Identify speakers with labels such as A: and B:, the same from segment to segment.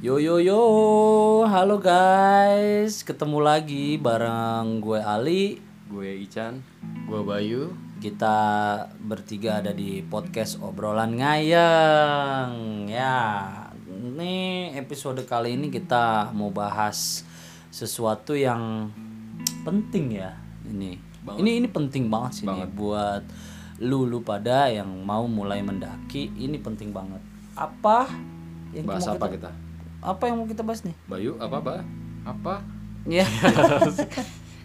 A: Yo yo yo, halo guys, ketemu lagi bareng gue Ali.
B: Gue Ican.
C: Gua Bayu.
A: Kita bertiga ada di podcast obrolan ngayang. Ya, ini episode kali ini kita mau bahas sesuatu yang penting ya. Ini, ini ini penting banget sih nih buat lu lu pada yang mau mulai mendaki. Ini penting banget. Apa? Yang
C: Bahas
A: mau
C: apa kita?
A: apa yang mau kita bahas nih?
C: Bayu apa apa?
B: Apa?
A: Ya.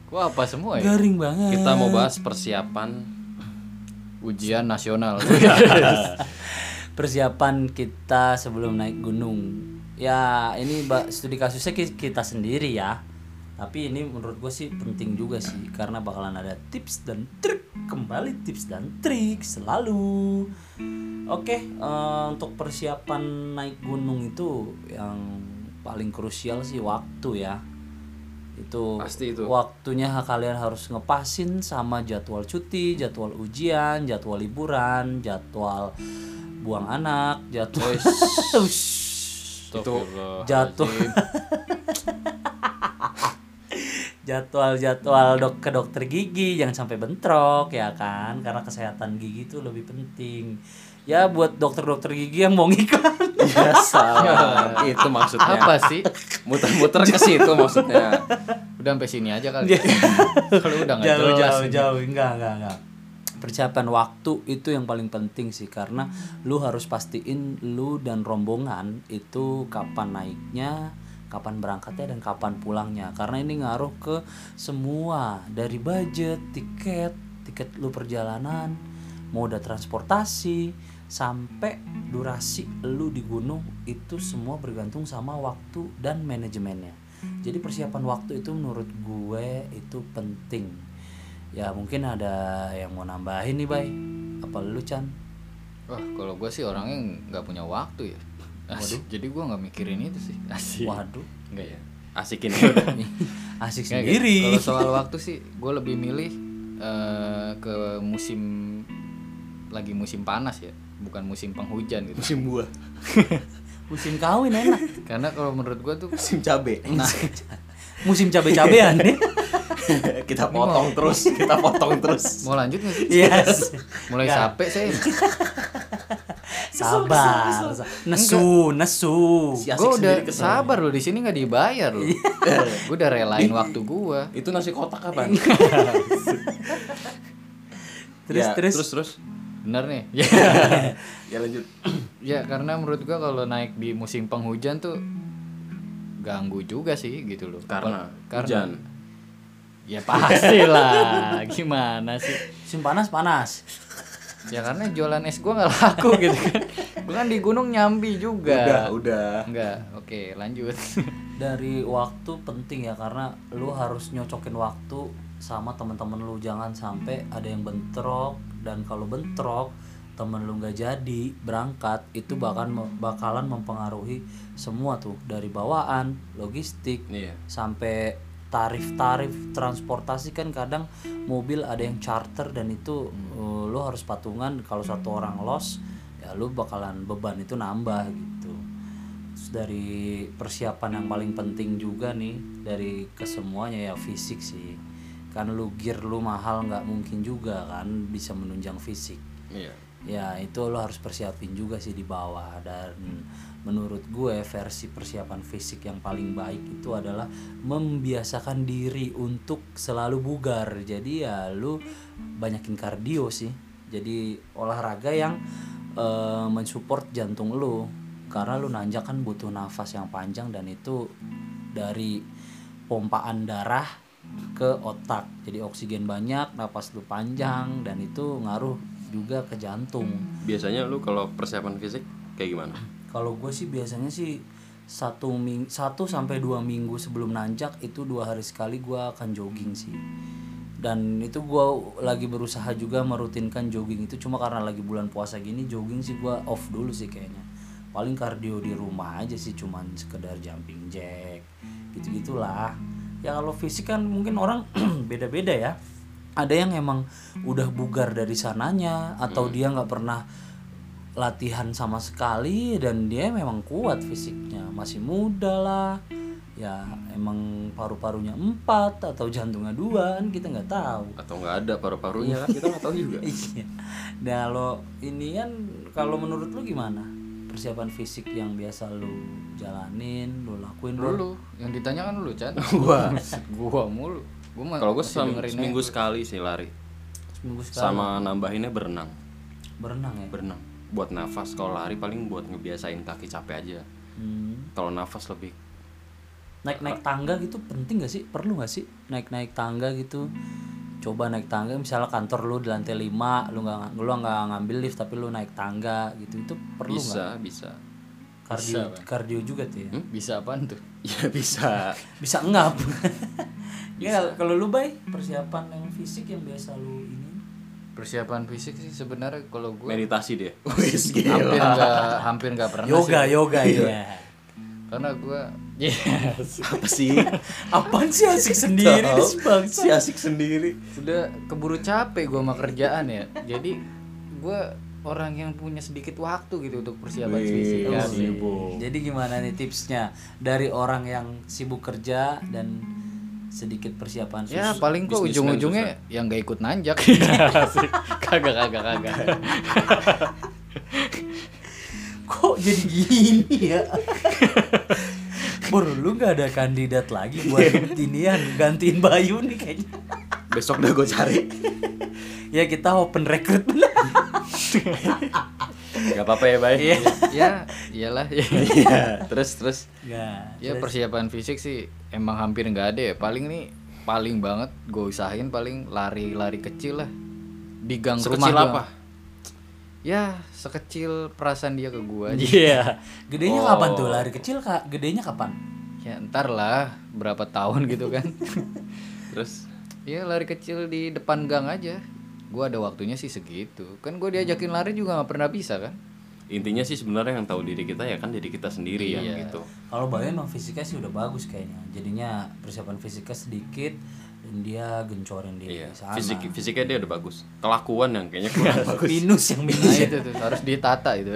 C: Kok apa semua ya?
A: Garing banget.
C: Kita mau bahas persiapan ujian nasional. Iya.
A: Persiapan kita sebelum naik gunung. Ya, ini ba- studi kasusnya ki- kita sendiri ya. Tapi ini menurut gue sih penting juga sih karena bakalan ada tips dan trik kembali tips dan trik selalu. Oke, eh, untuk persiapan naik gunung itu yang paling krusial sih waktu ya. Itu
C: Pasti itu.
A: waktunya kalian harus ngepasin sama jadwal cuti, jadwal ujian, jadwal liburan, jadwal buang anak, jadwal
C: itu
A: jadwal jadwal jadwal dok ke dokter gigi jangan sampai bentrok ya kan karena kesehatan gigi itu lebih penting ya buat dokter-dokter gigi yang mau ngiklan
C: Iya,
B: Biasa. itu maksudnya.
C: apa sih?
B: Muter-muter ke situ maksudnya.
C: Udah sampai sini aja kali. ya. Kalau udah nggak
A: jauh
C: jelas.
A: jauh jauh enggak enggak enggak persiapan waktu itu yang paling penting sih karena lu harus pastiin lu dan rombongan itu kapan naiknya kapan berangkatnya dan kapan pulangnya karena ini ngaruh ke semua dari budget tiket tiket lu perjalanan moda transportasi sampai durasi lu di gunung itu semua bergantung sama waktu dan manajemennya jadi persiapan waktu itu menurut gue itu penting ya mungkin ada yang mau nambahin nih bay apa lu Chan
C: Wah, kalau gue sih orangnya nggak punya waktu ya. Asik. Jadi gue nggak mikirin itu sih. Asik.
A: waduh
B: Enggak ya. Asikin udah.
A: asik
C: Nggak,
A: sendiri
C: gitu. Kalau soal waktu sih, gue lebih milih eh, ke musim lagi musim panas ya, bukan musim penghujan gitu.
B: Musim buah,
A: musim kawin enak
C: Karena kalau menurut gue tuh
B: musim cabe.
C: Nah,
A: musim cabe-cabean
B: kita potong terus, Iya. kita potong terus.
C: mau lanjut nggak sih?
A: yes
C: Mulai
A: Nggak.
C: capek saya.
B: Iya,
A: sabar nesu nesu
B: Si asik
C: Gue udah
B: sendiri kesel. Iya.
C: sabar loh di sini nggak dibayar loh. gue udah relain waktu gue.
B: Itu nasi kotak apa?
A: terus terus
B: Ya, terus terus.
C: Bener nih. Ya,
B: Iya. Ya lanjut.
C: ya karena menurut gue kalau naik di musim penghujan tuh ganggu juga sih gitu loh.
B: Karena
C: Karena-
B: hujan.
C: Ya pasti lah. Gimana sih?
A: musim
C: Iya,
A: panas panas
C: Ya karena jualan es gue nggak laku gitu kan. Gue kan di gunung nyambi
B: Udah,
C: juga.
B: udah.
C: Enggak. Oke, lanjut.
A: dari waktu penting ya karena lu harus nyocokin waktu sama teman-teman lu jangan sampai ada yang bentrok dan kalau bentrok temen lu nggak jadi berangkat itu bahkan bakalan mempengaruhi semua tuh dari bawaan logistik
B: Iya.
A: sampai tarif-tarif transportasi kan kadang mobil ada yang charter dan itu eh, lu harus patungan kalau satu orang los ya lu bakalan beban itu nambah gitu Terus dari persiapan yang paling penting juga nih dari kesemuanya ya fisik sih kan lu gear lu mahal nggak mungkin juga kan bisa menunjang fisik
B: Iya.
A: ya itu lo harus persiapin juga sih di bawah dan menurut gue versi persiapan fisik yang paling baik itu adalah membiasakan diri untuk selalu bugar jadi ya lu banyakin kardio sih jadi olahraga yang eh, mensupport jantung lu karena lu nanjak kan butuh nafas yang panjang dan itu dari pompaan darah ke otak jadi oksigen banyak napas lu panjang dan itu ngaruh juga ke jantung
B: Biasanya lu kalau persiapan fisik kayak gimana?
A: kalau gue sih biasanya sih satu ming satu sampai dua minggu sebelum nanjak itu dua hari sekali gue akan jogging sih dan itu gue lagi berusaha juga merutinkan jogging itu cuma karena lagi bulan puasa gini jogging sih gue off dulu sih kayaknya paling kardio di rumah aja sih cuman sekedar jumping jack gitu gitulah ya kalau fisik kan mungkin orang beda-beda ya ada yang emang udah bugar dari sananya atau dia nggak pernah latihan sama sekali dan dia memang kuat fisiknya masih muda lah ya emang paru-parunya empat atau jantungnya dua kan kita nggak tahu
B: atau nggak ada paru-parunya kan kita nggak tahu juga
A: iya nah lo ini kan kalau menurut lu gimana persiapan fisik yang biasa lu jalanin lu lakuin lu
C: Lu lu yang ditanya kan lu Chan.
B: gua
C: gua mulu. Gua mah
B: kalau gue
C: masih dengerin aja.
B: seminggu sekali sih lari
A: seminggu sekali
B: sama nambahinnya berenang
A: berenang ya
B: berenang buat nafas kalau lari paling buat ngebiasain kaki capek aja
A: Hmm.
B: kalau nafas lebih
A: naik naik
B: Eh,
A: tangga gitu penting gak sih perlu gak sih naik naik tangga gitu coba naik tangga misalnya kantor lu di lantai 5 lu nggak lu nggak ngambil lift tapi lu naik tangga gitu itu perlu nggak
B: bisa Hmm? bisa
A: kardio kardio juga tuh ya
C: bisa apaan tuh?
B: ya bisa
A: bisa ngap ya kalau lu bay persiapan yang fisik yang biasa lu ini
C: Persiapan fisik sih sebenarnya kalau gua
B: meditasi deh wis
C: hampir
B: gila
C: nggak hampir nggak pernah
A: yoga
C: sih.
A: yoga
B: Iya.
A: ya
C: Karena gua ya, yes.
B: apa sih
A: apaan sih asik sendiri
B: Tahu.
A: nih, Bang?
B: si asik sendiri
C: udah keburu capek gua sama kerjaan ya. Jadi gua orang yang punya sedikit waktu gitu untuk persiapan
B: Wih, iya
C: fisik kan.
B: sibuk.
A: Iya Jadi gimana nih tipsnya dari orang yang sibuk kerja dan sedikit persiapan
C: Ya
A: khusus?
C: paling kok
B: Businessman
C: ujung-ujungnya yang gak ikut nanjak Kagak kagak kagak
A: Kok jadi gini ya? Bro, lu nggak ada kandidat lagi buat tinian gantiin Bayu nih kayaknya.
B: besok udah gue cari
A: Ya kita open recruitment.
B: nggak apa-apa ya bay
C: Ya iyalah
B: Iya. terus terus
A: Nggak.
C: Ya persiapan fisik sih emang hampir nggak ada ya Paling nih paling banget gue usahain paling lari-lari kecil lah Di gang rumah
B: Sekecil
C: gua.
B: apa?
C: Ya sekecil perasaan dia ke gue aja
A: Iya. Gedenya
B: Oh.
A: kapan tuh lari kecil kak? Gedenya kapan?
C: Ya ntar lah berapa tahun gitu kan
B: terus
C: Ya lari kecil di depan gang aja Gue ada waktunya sih segitu Kan gue diajakin lari juga nggak pernah bisa kan
B: intinya sih sebenarnya yang tahu diri kita ya kan diri kita sendiri ya gitu
A: Kalau Bayu emang fisiknya sih udah bagus kayaknya. Jadinya persiapan fisiknya sedikit dan dia gencorin di
B: Iya,
A: sana.
B: fisik fisiknya dia udah bagus. Kelakuan yang kayaknya kurang Iya, bagus.
A: Minus yang minus.
C: Nah itu tuh harus ditata itu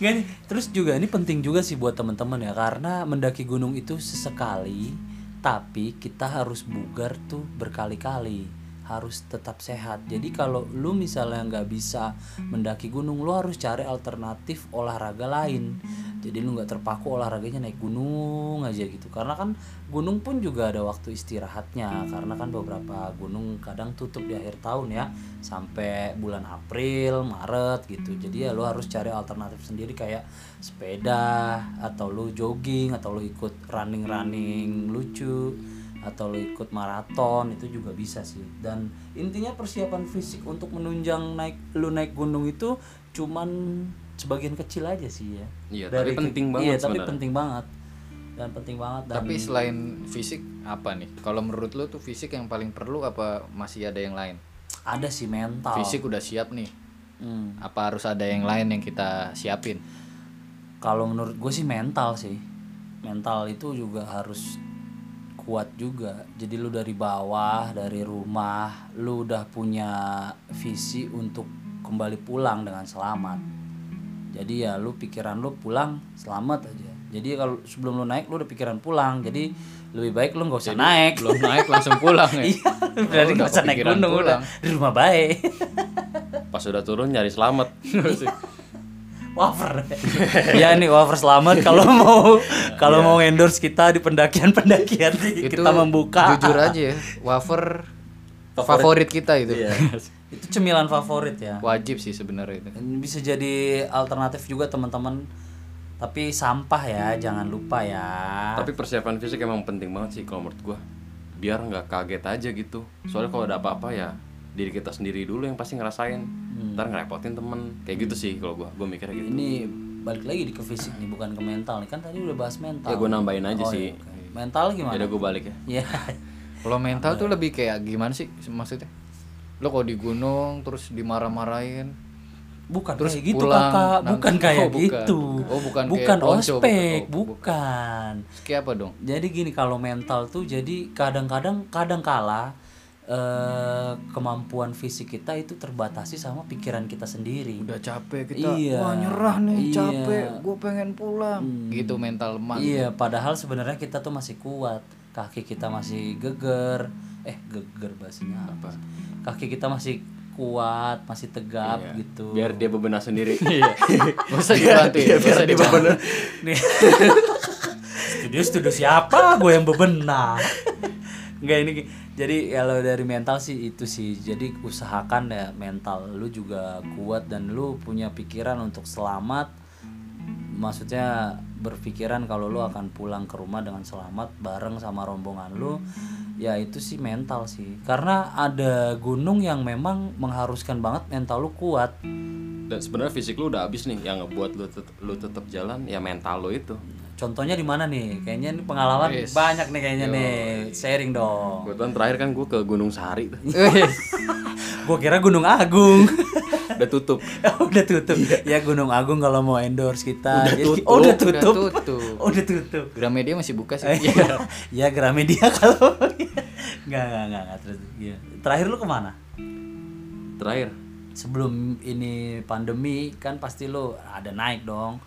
A: Nggak nih, terus juga ini penting juga sih buat teman-teman ya karena mendaki gunung itu sesekali tapi kita harus bugar tuh berkali-kali harus tetap sehat jadi kalau lu misalnya nggak bisa mendaki gunung lu harus cari alternatif olahraga lain jadi lu nggak terpaku olahraganya naik gunung aja gitu karena kan gunung pun juga ada waktu istirahatnya karena kan beberapa gunung kadang tutup di akhir tahun ya sampai bulan April Maret gitu jadi ya lu harus cari alternatif sendiri kayak sepeda atau lu jogging atau lu ikut running running lucu atau lo ikut maraton itu juga bisa sih dan intinya persiapan fisik untuk menunjang naik lu naik gunung itu cuman sebagian kecil aja sih ya
B: Iya, tapi penting banget
A: iya tapi
B: sebenarnya.
A: penting banget dan penting banget dan
C: Tapi selain fisik apa nih? Kalau menurut lo tuh fisik yang paling perlu apa masih ada yang lain?
A: ada sih mental
C: Fisik udah siap nih.
A: Hmm.
C: Apa harus ada yang lain yang kita siapin?
A: kalau menurut gue sih mental sih mental itu juga harus kuat juga jadi lu dari bawah dari rumah lu udah punya visi untuk kembali pulang dengan selamat jadi ya lu pikiran lu pulang selamat aja jadi kalau sebelum lu naik lu udah pikiran pulang jadi lebih baik lu nggak usah naik
C: Belum naik langsung pulang ya.
A: iya berarti
C: Oh,
A: nggak
C: udah
A: usah naik
C: kepikiran
A: gunung udah
C: pulang.
A: di rumah baik
B: Pas udah turun nyari selamat. Iya.
A: wafer ya nih wafer selamat kalau mau kalau
C: Iya.
A: mau endorse kita di pendakian pendakian kita membuka
C: Jujur aja ya, wafer favorit, Iya. kita itu.
A: itu cemilan favorit ya
C: Wajib sih sebenarnya itu.
A: Ini bisa jadi alternatif juga teman-teman tapi sampah ya jangan lupa ya
B: Tapi persiapan fisik emang penting banget sih kalau menurut gua. Biar nggak kaget aja gitu. Soalnya kalau ada apa-apa ya diri kita sendiri dulu yang pasti ngerasain. Ntar ngerepotin temen. Kayak gitu sih kalau gua. Gua mikirnya gitu.
A: ini balik lagi di ke fisik nih bukan ke mental nih kan tadi udah bahas mental
B: Ya gua nambahin aja
A: Oh,
B: sih.
A: iya, oke. mental gimana
B: Ya udah gua balik ya.
A: ya
C: Kalau mental tuh lebih kayak gimana sih maksudnya? Lo kalau di gunung terus dimarah-marahin,
A: bukan
C: Terus
A: kayak gitu
C: pulang,
A: kakak bukan
C: nang-
A: kayak
C: Oh, bukan.
A: gitu
C: Oh, bukan kayak
A: bukan
C: ponco, bukan.
A: ospek
C: Oh,
A: bukan
C: terus kayak apa dong?
A: Jadi gini kalau mental tuh jadi kadang-kadang kadang kala eh, kemampuan fisik kita itu terbatasi sama pikiran kita sendiri.
C: udah capek kita
A: Iya.
C: wah nyerah nih
A: Iya.
C: capek gue pengen pulang gitu mental lemah
A: Iya, padahal sebenarnya kita tuh masih kuat. Kaki kita masih geger. Eh, geger bahasanya apa? sih? Kaki kita masih kuat, masih tegap
C: Iya.
A: gitu.
B: biar dia bebenah sendiri
C: Gak usah dibantu ya gak usah dibantu.
A: Nih. studio studio siapa? Gue yang bebenah. Enggak ini jadi kalau dari mental sih itu sih. Jadi usahakan ya mental lu juga kuat dan lu punya pikiran untuk selamat. Maksudnya berpikiran kalau lu akan pulang ke rumah dengan selamat bareng sama rombongan lu. Ya itu sih mental sih. Karena ada gunung yang memang mengharuskan banget mental lu kuat.
B: dan sebenarnya fisik lu udah habis nih yang ngebuat lu tet- lu tetap jalan ya mental lu itu
A: Contohnya di mana nih? Kayaknya ini pengalaman banyak nih kayaknya nih. Sharing dong.
B: kebetulan terakhir kan gue ke Gunung Sari tuh.
C: Wih,
A: Gua kira Gunung Agung.
B: udah tutup
A: udah tutup. Ya Gunung Agung kalau mau endorse kita. Jadi-
B: tutup.
A: Oh, udah
C: udah
A: tutup.
C: tutup
A: Oh, udah tutup.
C: Gramedia masih buka sih
A: ya Gramedia kalau nggak nggak nggak nggak terus iya. Terakhir lu kemana?
B: terakhir
A: Sebelum ini pandemi kan pasti lu ada naik dong.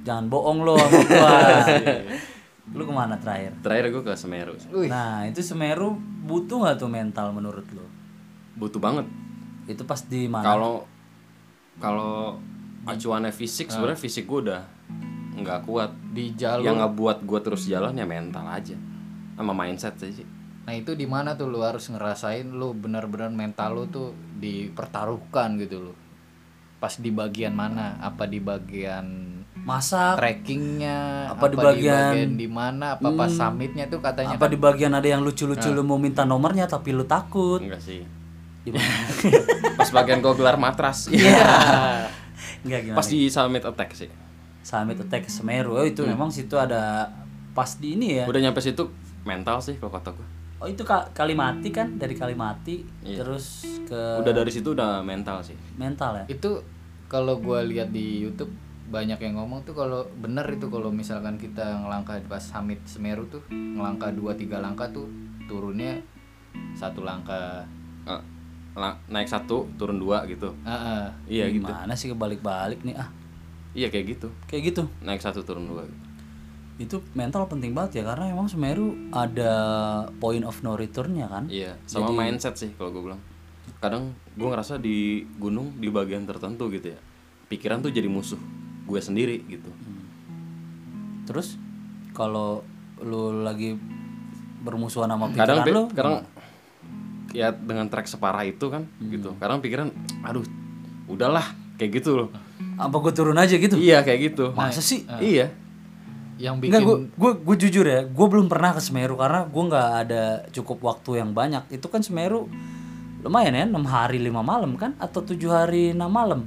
A: Jangan bohong lo sama gua. lu kemana terakhir?
B: terakhir gue ke Semeru
C: Wih.
A: Nah itu Semeru butuh nggak tuh mental menurut lo?
B: butuh banget
A: Itu pas di mana?
B: kalau kalau acuannya fisik sebenarnya fisik gue udah nggak kuat
C: di jalur
B: yang ngebuat gue terus jalan ya mental aja sama mindset aja sih
C: nah itu di mana tuh lu harus ngerasain lu benar-benar mental lu tuh dipertaruhkan gitu loh pas di bagian mana apa di bagian
A: Masak
C: trekkingnya
A: Apa di bagian- Hmm.
C: di mana apa pas summitnya tuh katanya
B: kan
A: apa di bagian ada yang lucu-lucu
B: Nah.
A: lu mau minta nomornya tapi lu takut?
B: enggak sih
A: Gimana?
B: pas bagian gue gelar matras
A: Enggak gimana?
B: pas di summit attack sih
A: Summit Attack Semeru. Oh, itu
B: Hmm.
A: memang situ ada pas di ini ya.
B: udah nyampe situ mental sih kalau kata gue
A: Oh, itu Ka- Kalimati kan dari Kalimati
B: Iya.
A: terus ke
B: udah dari situ udah mental sih
A: mental ya.
C: itu kalau gua lihat di YouTube banyak yang ngomong tuh kalau bener itu kalau misalkan kita ngelangkah pas summit Semeru tuh ngelangkah dua tiga langkah tuh turunnya satu langkah
B: Eh, la- naik satu turun dua gitu
C: Heeh.
B: iya gitu
A: gimana sih kebalik-balik nih ah.
B: iya kayak gitu
A: Kayak gitu.
B: naik satu turun dua gitu.
A: Itu mental penting banget ya karena emang Semeru ada point of no return-nya kan.
B: Iya, sama mindset sih kalau gue bilang. Kadang gue ngerasa di gunung di bagian tertentu gitu ya. Pikiran tuh jadi musuh gue sendiri gitu.
A: Terus kalau lu lagi bermusuhan sama pikiran
B: Kadang pi-
A: lu,
B: kadang ya dengan track separah itu kan
A: Hmm.
B: gitu. Kadang pikiran aduh udahlah kayak gitu loh.
A: apa gue turun aja gitu?
B: Iya kayak gitu.
A: Masa sih?
B: Iya.
C: yang bikin
A: Enggak, gue gue jujur ya, gue belum pernah ke Semeru karena gue nggak ada cukup waktu yang banyak. Itu kan Semeru lumayan ya, 6 hari 5 malam kan atau 7 hari 6 malam.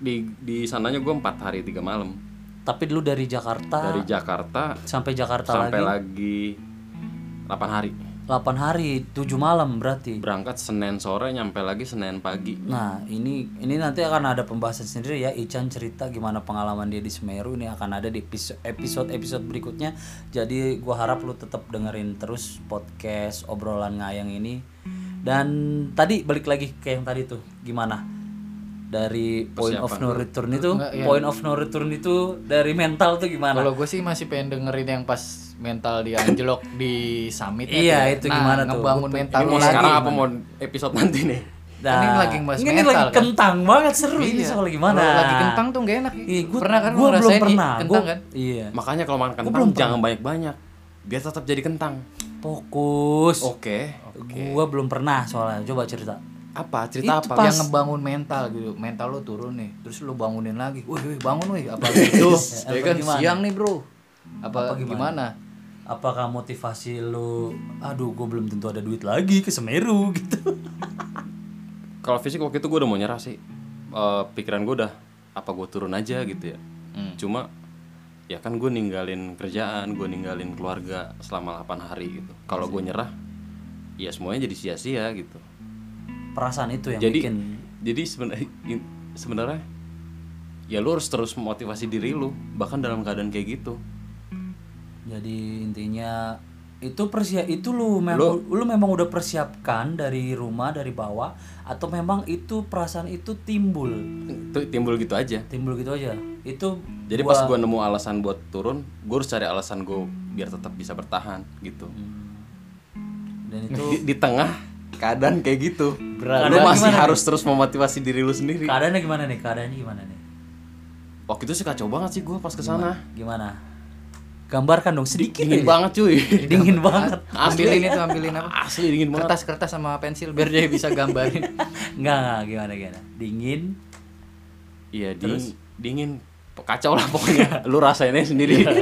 B: Di di sananya gue empat hari tiga malam
A: Tapi dulu dari Jakarta
B: dari Jakarta
A: sampai Jakarta
B: sampai
A: lagi
B: lagi 8 hari.
A: 8 hari 7 malam berarti.
B: Berangkat Senin sore nyampe lagi Senin pagi.
A: Nah, ini ini nanti akan ada pembahasan sendiri ya. Ican cerita gimana pengalaman dia di Semeru ini akan ada di episode episode berikutnya. Jadi gua harap lu tetap dengerin terus podcast obrolan ngayang ini. Dan tadi balik lagi ke yang tadi tuh. Gimana? Dari point of no return itu, point of no return itu dari mental tuh gimana?
C: ya. kalau gue sih masih pengen dengerin yang pas mental dia anjlok di summit
A: Iya, itu gimana tuh?
C: ngebangun mental
B: Ini
C: lu
B: mau
C: lagi
B: sekarang apa mau episode nanti nih?
A: Nah,
C: ini lagi ngebahas
A: ini
C: mental,
A: lagi
C: kan? Iya.
A: kentang banget seru ini soal gimana?
C: Kalau lagi kentang tuh gak enak
A: Iya, gua,
C: pernah kan
A: gua
C: ngerasain
A: belum
C: i-
A: pernah.
C: kentang
A: Gua-
C: kan
A: Iya.
B: Makanya kalau makan kentang jangan banyak-banyak. Biar tetap jadi kentang.
A: Fokus.
B: Oke.
A: Oh, Gua belum pernah soalnya. Coba cerita.
B: Apa cerita apa?
C: yang ngebangun mental gitu mental lu turun nih terus lu bangunin lagi wih wih bangun wih apa gitu ya kan siang nih bro apa, gimana?
A: Apakah motivasi lu aduh gue belum tentu ada duit lagi ke Semeru gitu.
B: Kalau fisik waktu itu gue udah mau nyerah sih. Eh, pikiran gue udah apa gue turun aja gitu ya. Cuma ya kan gue ninggalin kerjaan, gue ninggalin keluarga selama 8 hari gitu. Kalau gue nyerah, ya semuanya jadi sia-sia gitu.
A: Perasaan itu yang
B: jadi
A: bikin
B: jadi sebenarnya sebenarnya ya lu harus terus memotivasi diri lu bahkan dalam keadaan kayak gitu.
A: jadi intinya itu persia itu lu memang lu, memang udah persiapkan dari rumah dari bawah atau memang itu perasaan itu timbul
B: itu timbul gitu aja
A: timbul gitu aja itu
B: jadi pas gua nemu alasan buat turun gua harus cari alasan gua biar tetap bisa bertahan gitu
A: Hmm. dan itu
B: di, di tengah keadaan kayak gitu
C: Berat.
B: lu
A: Keadaan
B: masih
A: gimana
B: harus terus memotivasi diri lu sendiri
A: keadaannya gimana nih keadaannya gimana nih
B: waktu itu sih kacau banget sih gua pas kesana
A: gimana gambarkan dong sedikit
B: dingin
A: aja.
B: banget cuy
A: dingin banget
C: ambilin itu ambilin apa
B: asli dingin banget
C: kertas-kertas sama pensil biar dia bisa gambarin
A: nggak nggak gimana gimana dingin
B: iya dingin dingin kacau lah pokoknya lu rasainnya sendiri
A: Iya.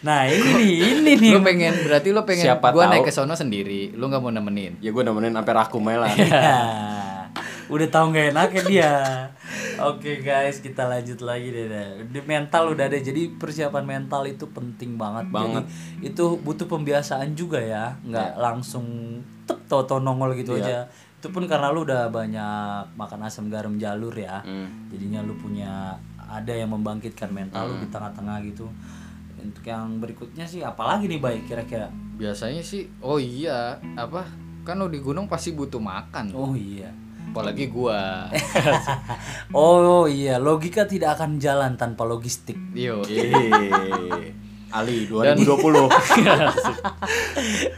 A: nah ini nih ini nih
C: lu pengen berarti lu pengen
B: Siapa
C: gua naik
B: tahu.
C: ke sono sendiri lu nggak mau nemenin
B: ya gua nemenin sampai rakum aja lah
A: Ya, udah tahu nggak enaknya dia. Oke guys, kita lanjut lagi deh. deh. Di mental udah ada, jadi persiapan mental itu penting banget.
B: Banget.
A: Jadi, itu butuh pembiasaan juga ya, nggak langsung tep toto nongol gitu aja. Itu pun karena lu udah banyak makan asam garam jalur ya, jadinya lu punya ada yang membangkitkan mental lu di tengah-tengah gitu. Untuk yang berikutnya sih, apalagi nih baik kira-kira.
C: biasanya sih oh iya apa kan lo di gunung pasti butuh makan
A: Oh iya.
C: apalagi gua
A: Oh iya, logika tidak akan jalan tanpa logistik.
C: yo
B: Yeay. Iya. Ali 2020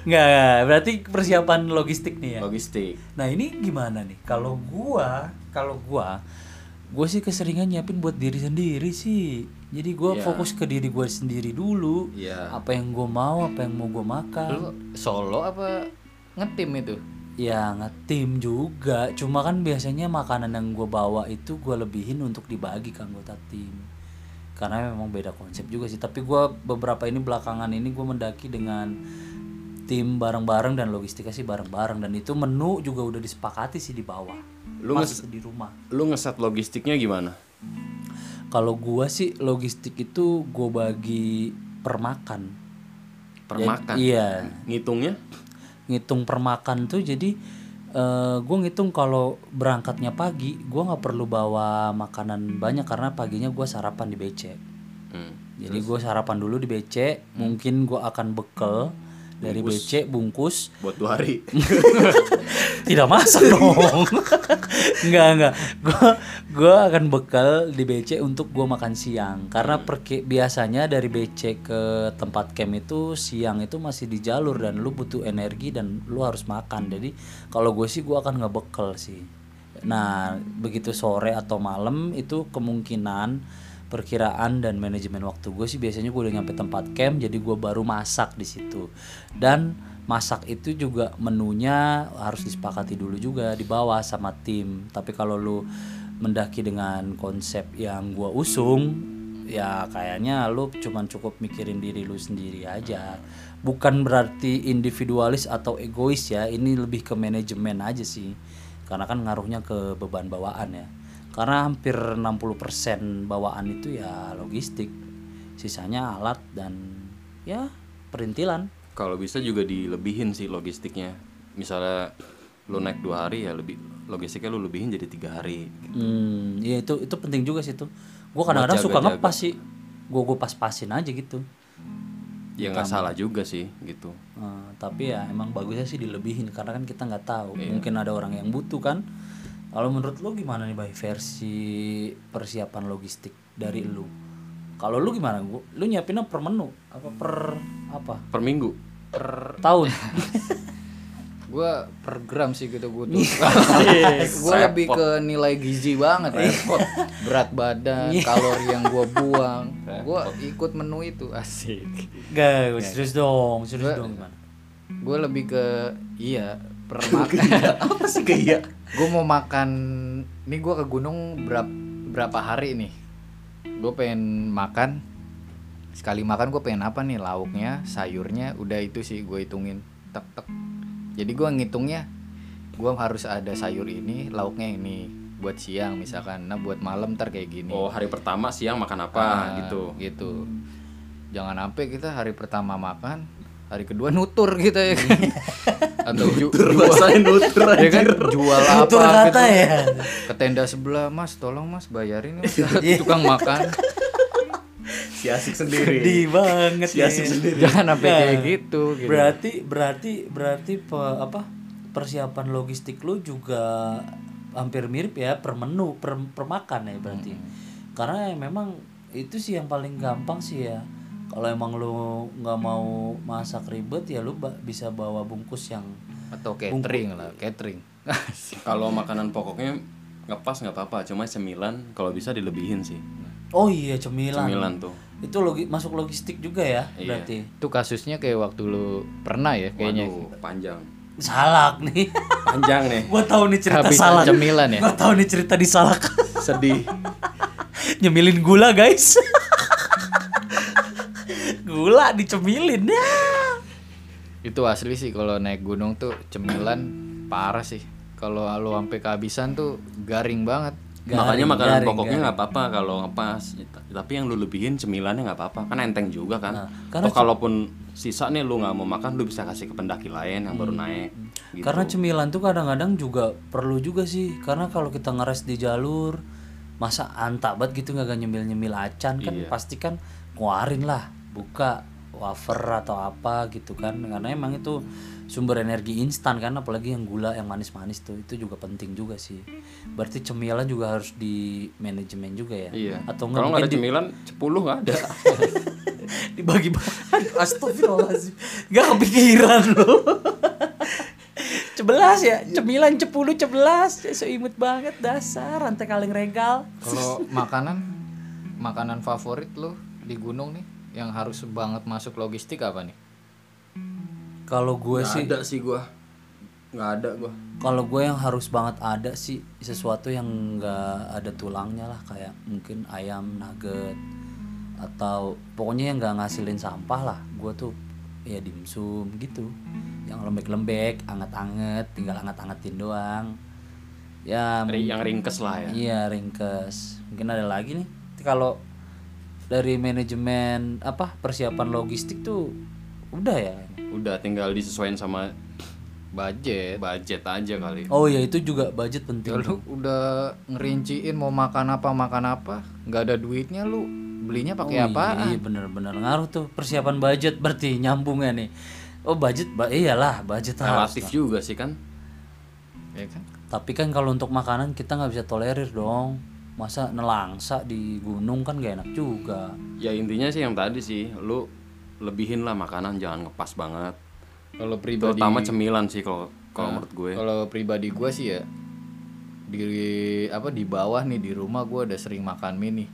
A: Nggak, berarti persiapan logistik nih ya.
B: logistik.
A: Nah ini gimana nih? Kalau gua, kalau gua, gua sih keseringan nyiapin buat diri sendiri sih. Jadi gua
B: Iya.
A: fokus ke diri gua sendiri dulu.
B: Iya.
A: Apa yang gua mau, apa yang mau gua makan.
C: lu solo apa ngetim itu
A: Ya ngetim juga. Cuma kan biasanya makanan yang gua bawa itu gua lebihin untuk dibagi ke anggota tim. Karena memang beda konsep juga sih. Tapi gua beberapa ini belakangan ini gua mendaki dengan tim bareng-bareng dan logistiknya sih bareng-bareng dan itu menu juga udah disepakati sih di bawah.
B: Lu
A: Masih di rumah.
B: Lu ngeset logistiknya gimana?
A: Kalau gua sih logistik itu gua bagi permakan.
B: Permakan.
A: Iya,
B: Ngitungnya?
A: ngitung permakan tuh jadi eh gue ngitung kalau berangkatnya pagi gue nggak perlu bawa makanan banyak karena paginya gue sarapan di BC jadi gue sarapan dulu di BC mungkin gue akan bekel dari BC bungkus
B: Buat dua hari.
A: tidak masuk dong nggak nggak gue gue akan bekal di BC untuk gue makan siang karena perke- biasanya dari BC ke tempat camp itu siang itu masih di jalur dan lu butuh energi dan lu harus makan jadi kalau gue sih gue akan ngebekel sih nah begitu sore atau malam itu kemungkinan perkiraan dan manajemen waktu gue sih biasanya gue udah nyampe tempat camp jadi gue baru masak di situ dan masak itu juga menunya harus disepakati dulu juga di bawah sama tim tapi kalau lu mendaki dengan konsep yang gue usung ya kayaknya lu cuman cukup mikirin diri lu sendiri aja bukan berarti individualis atau egois ya ini lebih ke manajemen aja sih karena kan ngaruhnya ke beban bawaan ya karena hampir 60% bawaan itu ya logistik sisanya alat dan ya perintilan
B: Kalau bisa juga dilebihin sih logistiknya. Misalnya lu naik dua hari ya lebih logistiknya lu lebihin jadi tiga hari.
A: hmm ya itu itu penting juga sih tuh gue kadang-kadang suka
B: jaga-jaga.
A: ngepas sih gue gue pas-pasin aja gitu
B: Ya nggak salah juga sih gitu.
A: Eh, tapi ya emang bagusnya sih dilebihin karena kan kita nggak tahu
B: Iya.
A: mungkin ada orang yang butuh kan kalau menurut lu gimana nih bay versi persiapan logistik dari lu kalau lu gimana gua lu nyiapinnya per menu apa per apa
B: Per minggu.
A: per tahun
C: gua per gram sih gitu butuh gua lebih ke nilai gizi banget repot berat badan kalori yang gua buang gua ikut menu itu asik
A: Gak, gua serius dong, serius dong gimana?
C: gue lebih ke iya per makan
B: Apa sih kayak?
C: gue mau makan nih gue ke gunung berapa berapa hari nih gue pengen makan sekali makan gue pengen apa nih lauknya sayurnya udah itu sih gue hitungin tek tek jadi gue ngitungnya gue harus ada sayur ini lauknya ini buat siang misalkan nah buat malam ntar kayak gini
B: Oh hari pertama siang makan apa
C: Ah,
B: gitu.
C: gitu jangan sampai kita hari pertama makan hari kedua nutur gitu ya kan atau ju- jual ya kan jual apa
A: Nutur kata
C: gitu.
A: ya. Iya.
C: ke tenda sebelah mas tolong mas bayarin ya, mas." tukang makan
B: si asik sendiri
A: sedih banget
B: Si Asif
A: nih.
B: sendiri.
C: Jangan sampai
A: Nah,
C: kayak gitu, gitu.
A: berarti berarti berarti pe- apa persiapan logistik lu juga hampir mirip ya per menu per, per makan ya berarti karena ya memang itu sih yang paling gampang sih ya kalau emang lu nggak mau masak ribet ya lu ba- bisa bawa bungkus yang
C: atau catering lah catering
B: kalau makanan pokoknya nggak pas nggak apa-apa cuma cemilan kalau bisa dilebihin sih
A: oh iya cemilan,
B: cemilan tuh
A: itu logi- masuk logistik juga ya
B: Iya.
A: berarti
C: itu kasusnya kayak waktu lu pernah ya kayaknya
B: waduh panjang
A: salak nih
B: Eh. panjang nih
A: gua tahu nih cerita
C: Habisan
A: salak
C: cemilan ya?
A: gua tahu nih cerita di salak
B: sedih
A: nyemilin gula guys gula dicemilin ya
C: itu asli sih kalau naik gunung tuh cemilan parah sih kalau lu sampai kehabisan tuh garing banget
A: Garing,
B: makanya makanan
A: garing,
B: pokoknya nggak apa-apa kalau ngepas tapi yang lu lebihin cemilannya nggak apa-apa kan enteng juga kan
A: Nah, karena
B: Atau kalaupun sisa nih lu nggak mau makan lu bisa kasih ke pendaki lain yang baru
A: Hmm.
B: naik gitu.
A: karena cemilan tuh kadang-kadang juga perlu juga sih karena kalau kita ngeres di jalur masa antak banget gitu nggak nyemil nyemil acan kan
B: Iya.
A: pasti kan nguarin lah buka wafer atau apa gitu kan karena emang itu sumber energi instan kan apalagi yang gula yang manis-manis tuh itu juga penting juga sih berarti cemilan juga harus di manajemen juga ya
B: iya
A: atau nggak
B: kalau
A: mungkin
B: nggak ada cemilan 10 nggak ada
A: dibagi-bagi astagfirullahaladzim gak kepikiran lo cebelas ya cemilan cepuluh cebelas Ya, seimut banget dasar rantai kaleng regal
C: kalau makanan makanan favorit lu di gunung nih yang harus banget masuk logistik apa nih
A: kalau gue sih
B: ada sih gua nggak ada gua
A: kalau gue yang harus banget ada sih sesuatu yang nggak ada tulangnya lah kayak mungkin ayam nugget atau pokoknya yang nggak ngasilin sampah lah gue tuh ya dimsum gitu yang lembek-lembek anget-anget tinggal anget-angetin doang ya
B: Ri- yang ringkes lah ya
A: Iya ringkes. Mungkin ada lagi nih. Nanti Kalau dari manajemen apa persiapan logistik tuh udah ya.
B: udah tinggal disesuaikan sama
C: budget
B: budget aja kali
A: Oh ya itu juga budget
C: ya
A: penting.
C: lu udah ngerinciin mau makan apa makan apa nggak ada duitnya lu belinya
A: Oh,
C: pakai apa
A: Iya bener-bener ngaruh tuh persiapan budget berarti nyambungnya nih. Oh budget, ba- iyalah budget harus.
B: relatif juga sih kan
C: ya kan
A: Tapi kan kalau untuk makanan kita nggak bisa tolerir dong. Masa nelangsa di gunung kan gak enak juga.
B: ya intinya sih yang tadi sih lu lebihin lah makanan jangan ngepas banget
C: kalau pribadi
B: terutama cemilan sih kalau kalau menurut
A: Iya.
B: gue
C: Kalau pribadi gue sih ya di apa di bawah nih di rumah gue udah sering makan mie nih.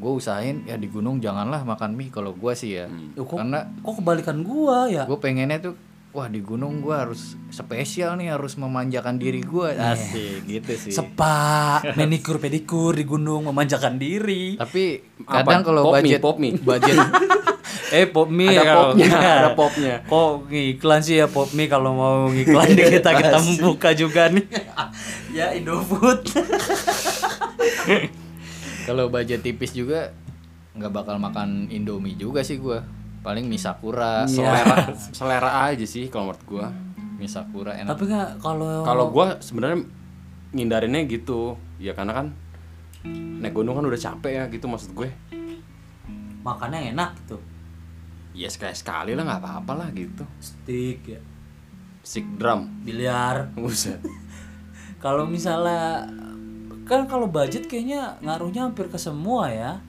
C: Gue usahain ya di gunung janganlah makan mie kalau gue sih ya.
A: Yo, kok,
C: Karena
A: kok kebalikan gua ya?
C: gue pengennya tuh wah di gunung gue harus spesial nih harus memanjakan diri gue
B: Iya.
C: asik gitu sih.
A: Sepa, manikur pedikur di gunung memanjakan diri.
C: Tapi
B: Apa?
C: kadang kalau
B: Pop mie,
C: budget
B: pop mie.
C: budget
A: Eh pop mie
B: Ada
A: ya kalau-
B: popnya, ada popnya.
A: Kok ngiklan sih ya pop mie kalau mau ngiklan di kita kita buka juga nih. Iya, ya Indofood.
C: kalau budget tipis juga nggak bakal makan indomie juga sih gue. Paling mie
B: Iya.
C: sakura,
B: selera selera aja sih kalau menurut gue
C: mie sakura enak.
A: Tapi nggak kalau
B: kalau gue sebenarnya ngindarinnya gitu ya karena kan naik gunung kan udah capek ya gitu maksud gue
A: makannya enak gitu.
B: ya sekali sekali lah nggak apa-apa lah gitu
A: Steak ya,
B: sick drum
A: biliar.
B: Buset.
A: Kalau misalnya kan kalau budget kayaknya ngaruhnya hampir ke semua ya.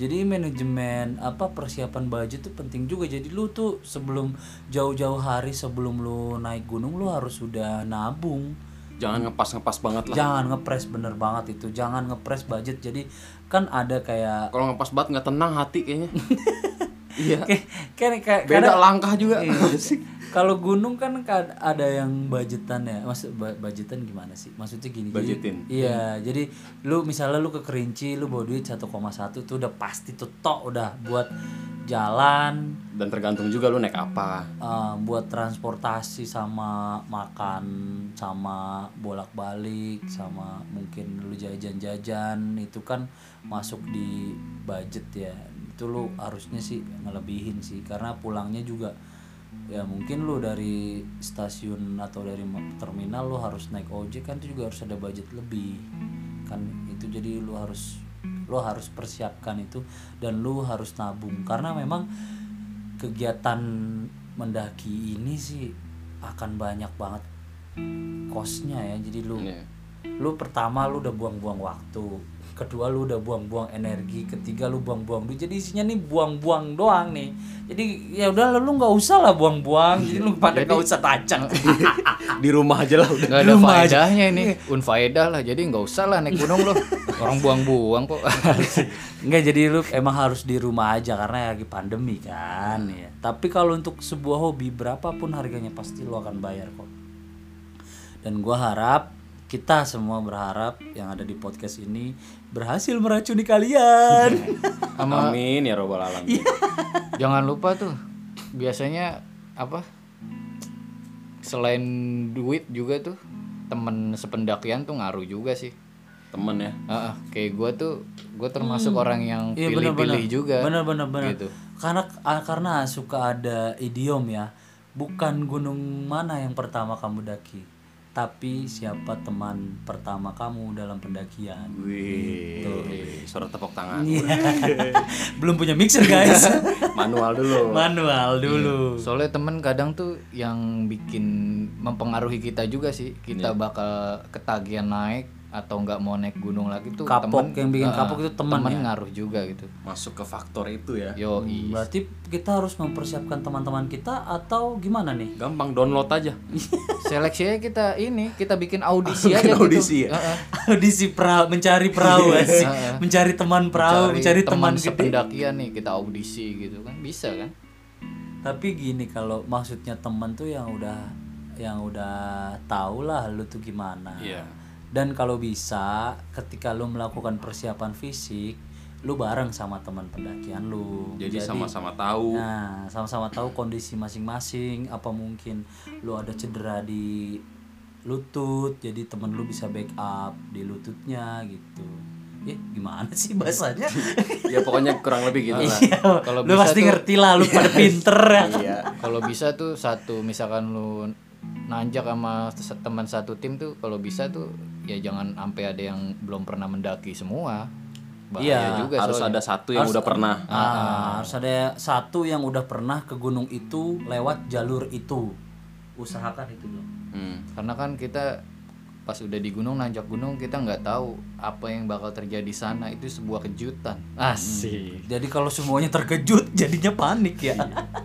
A: Jadi manajemen apa persiapan budget tuh penting juga. Jadi lu tuh sebelum jauh-jauh hari sebelum lu naik gunung lu harus sudah nabung.
B: jangan ngepas ngepas banget lah
A: Jangan ngepres bener banget itu. Jangan ngepres budget. Jadi kan ada kayak
B: kalau ngepas banget nggak tenang hati kayaknya iya
A: kayak kayak- kan kayak-
B: beda
A: kadang-
B: langkah juga
A: Iya. Kalau gunung kan kad- ada yang budgetan ya. Maksud bu- budgetan gimana sih? Maksudnya gini. jadi-
B: Budgetin.
A: iya, jadi lu misalnya lu ke Kerinci, lu bawa duit 1,1 tuh udah pasti tuh tok udah buat jalan,
B: dan tergantung juga lu naik apa
A: eh, buat transportasi sama makan sama bolak-balik sama mungkin lu jajan-jajan itu kan masuk di budget ya itu lu harusnya sih ngelebihin sih karena pulangnya juga ya mungkin lu dari stasiun atau dari ma- terminal lu harus naik ojek kan itu juga harus ada budget lebih kan itu jadi lu harus lo harus persiapkan itu dan lo harus nabung karena memang kegiatan mendaki ini sih akan banyak banget kosnya ya jadi lu
B: Iya.
A: lu pertama lu udah buang-buang waktu kedua lu udah buang-buang energi ketiga lu buang-buang duit jadi isinya nih buang-buang doang nih jadi ya udah lu- lu nggak usah lah buang-buang jadi lu pada nggak usah tajam
B: di rumah aja Iya. lah udah
C: Gak ada
A: Rumah aja.
C: faedahnya ini Unfaedah lah Jadi nggak usah lah naik gunung loh Orang buang-buang kok
A: nggak jadi lu emang harus di rumah aja karena lagi pandemi kan ya tapi kalau untuk sebuah hobi berapapun harganya pasti lu akan bayar kok dan gua harap kita semua berharap yang ada di podcast ini berhasil meracuni kalian
C: Sama
B: amin ya robbal alamin
C: Jangan lupa tuh Biasanya Apa Selain duit juga tuh Temen sependakian tuh ngaruh juga sih
B: temen ya
C: Heeh, Kayak gue tuh Gue termasuk orang yang
A: Iya,
C: pilih-pilih juga
A: bener bener bener
C: Gitu.
A: karena ah, karena suka ada idiom ya bukan gunung mana yang pertama kamu daki tapi siapa teman pertama kamu dalam pendakian
B: wih suara tepuk tangan
A: belum punya mixer guys
B: manual dulu Iya.
A: manual dulu
C: Soalnya temen kadang tuh yang bikin mempengaruhi kita juga sih Kita bakal ketagihan naik Atau nggak mau naik gunung lagi tuh
A: kapok
C: temen-
A: yang bikin
C: Heeh,
A: kapok itu teman
C: temen
A: ya
C: ngaruh juga gitu
B: masuk ke faktor itu ya
C: Yo,
A: berarti kita harus mempersiapkan teman-teman kita atau gimana nih
B: gampang download aja
C: seleksinya kita ini kita bikin audisi aja
B: Bikin
C: gitu.
B: audisi ya?
C: Heeh.
A: audisi perahu mencari perahu
B: Iya.
A: sih mencari teman perahu mencari teman gede
C: sependakian nih kita audisi gitu kan bisa kan?
A: tapi gini kalau maksudnya temen tuh yang udah yang udah tau lah lu tuh gimana
B: Iya.
A: dan kalau bisa ketika lu melakukan persiapan fisik lu bareng sama teman pendakian lu
B: jadi sama-sama tahu
A: nah sama-sama tahu kondisi masing-masing apa mungkin lu ada cedera di lutut jadi temen lu bisa backup di lututnya gitu ya gimana sih bahasanya
B: ya pokoknya kurang lebih gitu lah
A: Iya,
C: Kalau
A: lu
C: bisa
A: pasti
C: tuh- Iya.
A: ngerti lah lu pada pinter ya kan?
C: Kalau bisa tuh satu misalkan lu nanjak sama se- teman satu tim tuh kalau bisa tuh ya jangan sampai ada yang belum pernah mendaki semua. Bahaya
A: Iya,
C: juga
B: harus
C: soalnya.
B: ada satu yang udah pernah
A: Ah, harus ada satu yang udah pernah ke gunung itu lewat jalur itu. Usahakan itu dulu.
B: Hmm.
C: Karena kan kita pas udah di gunung nanjak gunung kita nggak tahu apa yang bakal terjadi di sana itu sebuah kejutan. Asik.
A: Jadi kalau semuanya terkejut jadinya panik ya.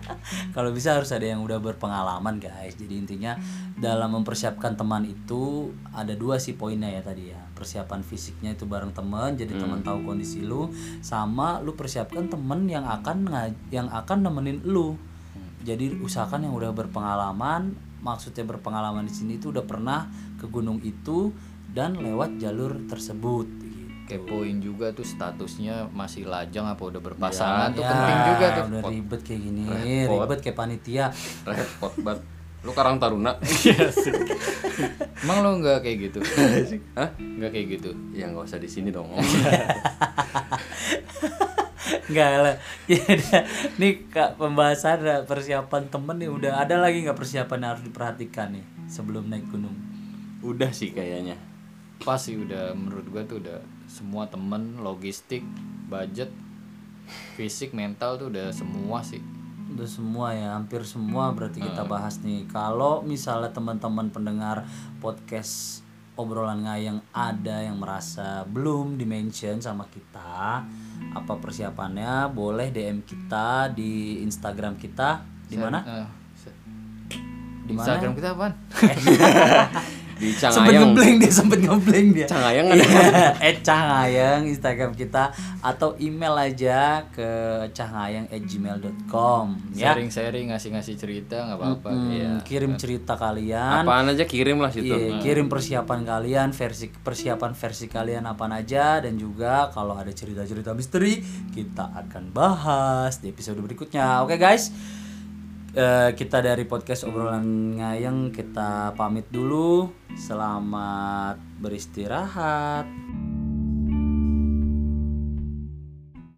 A: kalau bisa harus ada yang udah berpengalaman guys. Jadi intinya dalam mempersiapkan teman itu ada dua sih poinnya ya tadi ya. Persiapan fisiknya itu bareng temen, jadi teman tahu kondisi lu sama lu persiapkan temen yang akan nga- yang akan nemenin lu. Jadi usahakan yang udah berpengalaman, maksudnya berpengalaman di sini itu udah pernah ke gunung itu dan lewat jalur tersebut gitu.
C: Hmm, kepoin juga tuh statusnya masih lajang apa udah berpasangan Kan tuh
A: Ya,
C: penting juga tuh
A: udah ribet kayak gini ribet kayak panitia
B: repot banget lu karang taruna
C: emang lo nggak kayak gitu Hah? nggak kayak gitu
B: ya nggak usah di sini dong
A: nggak lah ya udah. nih kak pembahasan ada persiapan temen nih udah ada lagi nggak persiapan yang harus diperhatikan nih sebelum naik gunung
B: udah sih kayaknya
C: pas sih udah menurut gua tuh udah semua temen logistik budget fisik mental tuh udah semua sih
A: udah semua ya hampir semua berarti kita bahas nih kalau misalnya teman-teman pendengar podcast obrolan ngayang ada yang merasa belum dimention sama kita apa persiapannya boleh dm kita di instagram kita di mana
C: Eh, se- Instagram kita apaan?
B: di
A: sempet
B: Cangayang
A: ngeblank dia sempet ngeblank dia
B: Cangayang kan? ada
A: Iya, eh cahayang instagram kita atau email aja ke cahayang@gmail.com ya
C: Sharing-sharing, ngasih-ngasih cerita, nggak apa-apa. Iya.
A: Hmm, kirim cerita kalian
B: apaan aja kirim lah situ
A: Iya,
B: Nah.
A: kirim persiapan kalian versi persiapan versi kalian apa aja dan juga kalau ada cerita-cerita misteri kita akan bahas di episode berikutnya oke guys Eh, kita dari podcast obrolan ngayang kita pamit dulu selamat beristirahat